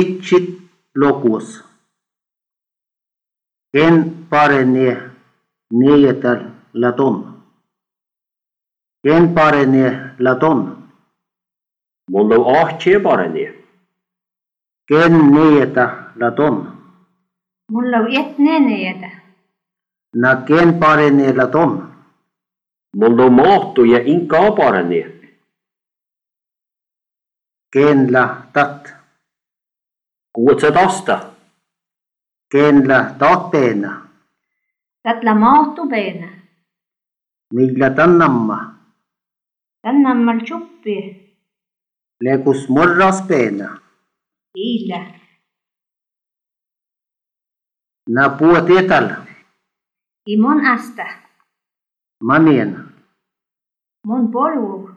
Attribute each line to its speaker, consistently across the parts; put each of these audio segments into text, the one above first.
Speaker 1: इच्छित lukus en parene neljätälläton. En parene läton.
Speaker 2: Mun on ahtje parani.
Speaker 1: Ken neljätä läton.
Speaker 3: Mulla on etneneitä.
Speaker 1: Na ken parene läton.
Speaker 2: Mun on mahtu ja inkaa parani.
Speaker 1: Ken lähtät.
Speaker 2: Kuutse tasta.
Speaker 1: Ken lähtät peena.
Speaker 3: Tätla maahtu peena.
Speaker 1: Millä tannamma.
Speaker 3: Tänne on mal tjuppi.
Speaker 1: Lekus morras peena.
Speaker 3: Iillä.
Speaker 1: Na puot etal.
Speaker 3: I mun asta.
Speaker 1: Manien.
Speaker 3: Mun polu.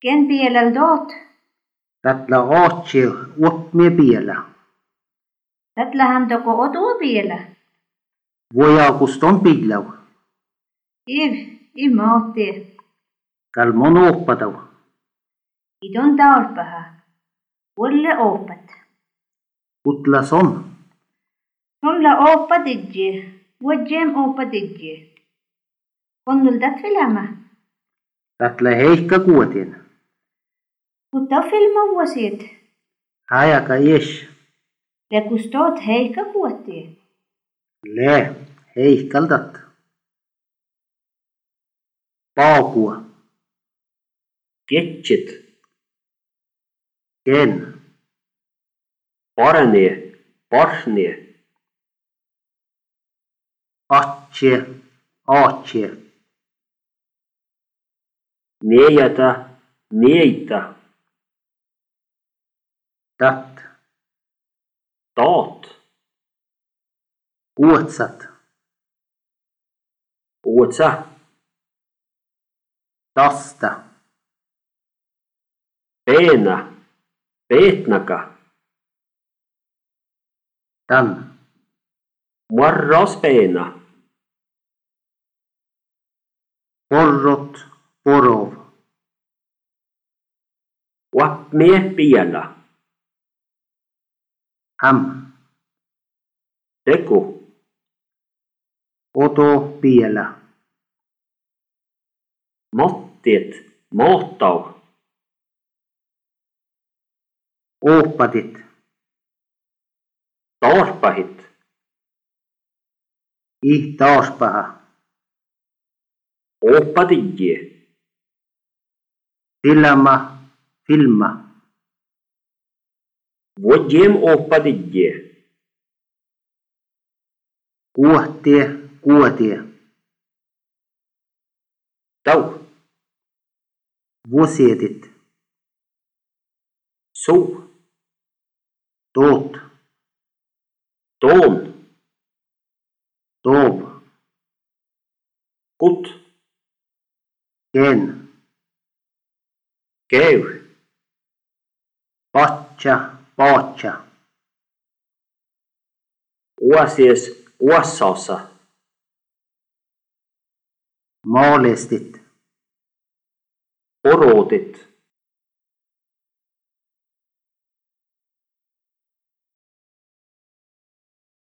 Speaker 3: Ken pielel doot.
Speaker 1: Tätla ahtje uppe pielä.
Speaker 3: Tätla hän toko otu pielä.
Speaker 1: Voja kuston pillau.
Speaker 3: Iv. I maahti.
Speaker 1: Kalmon oppatau.
Speaker 3: I ton taulpaha. Ulle oopat.
Speaker 1: Utlas on.
Speaker 3: Mulla oopat idji. Vuodjem oopat idji. Konnul tät filama.
Speaker 1: Tätla heikka kuotin.
Speaker 3: Mutta filma vuosit.
Speaker 1: Ajaka ies.
Speaker 3: Lekustot heikka kuotti.
Speaker 1: Le. Heikkaltat. Paakua.
Speaker 2: Ketsit.
Speaker 1: Ken.
Speaker 2: Parani. Parni.
Speaker 1: Atje. Aatje.
Speaker 2: Neijätä. Neitä.
Speaker 1: Tät.
Speaker 2: Taat.
Speaker 1: Kuotsat.
Speaker 2: Kuutsa.
Speaker 1: Tasta.
Speaker 2: Peena. Peetnaka.
Speaker 1: Tan.
Speaker 2: Marras peena.
Speaker 1: Porrot. Porov.
Speaker 2: Vappmie piela.
Speaker 1: Ham.
Speaker 2: Teku.
Speaker 1: Oto pielä.
Speaker 2: Mattit. Mahtau.
Speaker 1: Ooppatit.
Speaker 2: Tarpahit.
Speaker 1: Ih taaspaha.
Speaker 2: Oppadigi.
Speaker 1: Filma. Filma.
Speaker 2: Vuodjem oppadigi.
Speaker 1: Kuohtie. Kuotie.
Speaker 2: Tau.
Speaker 1: Vosietit.
Speaker 2: Suu.
Speaker 1: Toot.
Speaker 2: Toon.
Speaker 1: Toov.
Speaker 2: Kut.
Speaker 1: Ken.
Speaker 2: Käy.
Speaker 1: Patja. Paatja.
Speaker 2: Uasies uassaossa.
Speaker 1: Maalestit.
Speaker 2: Orotit.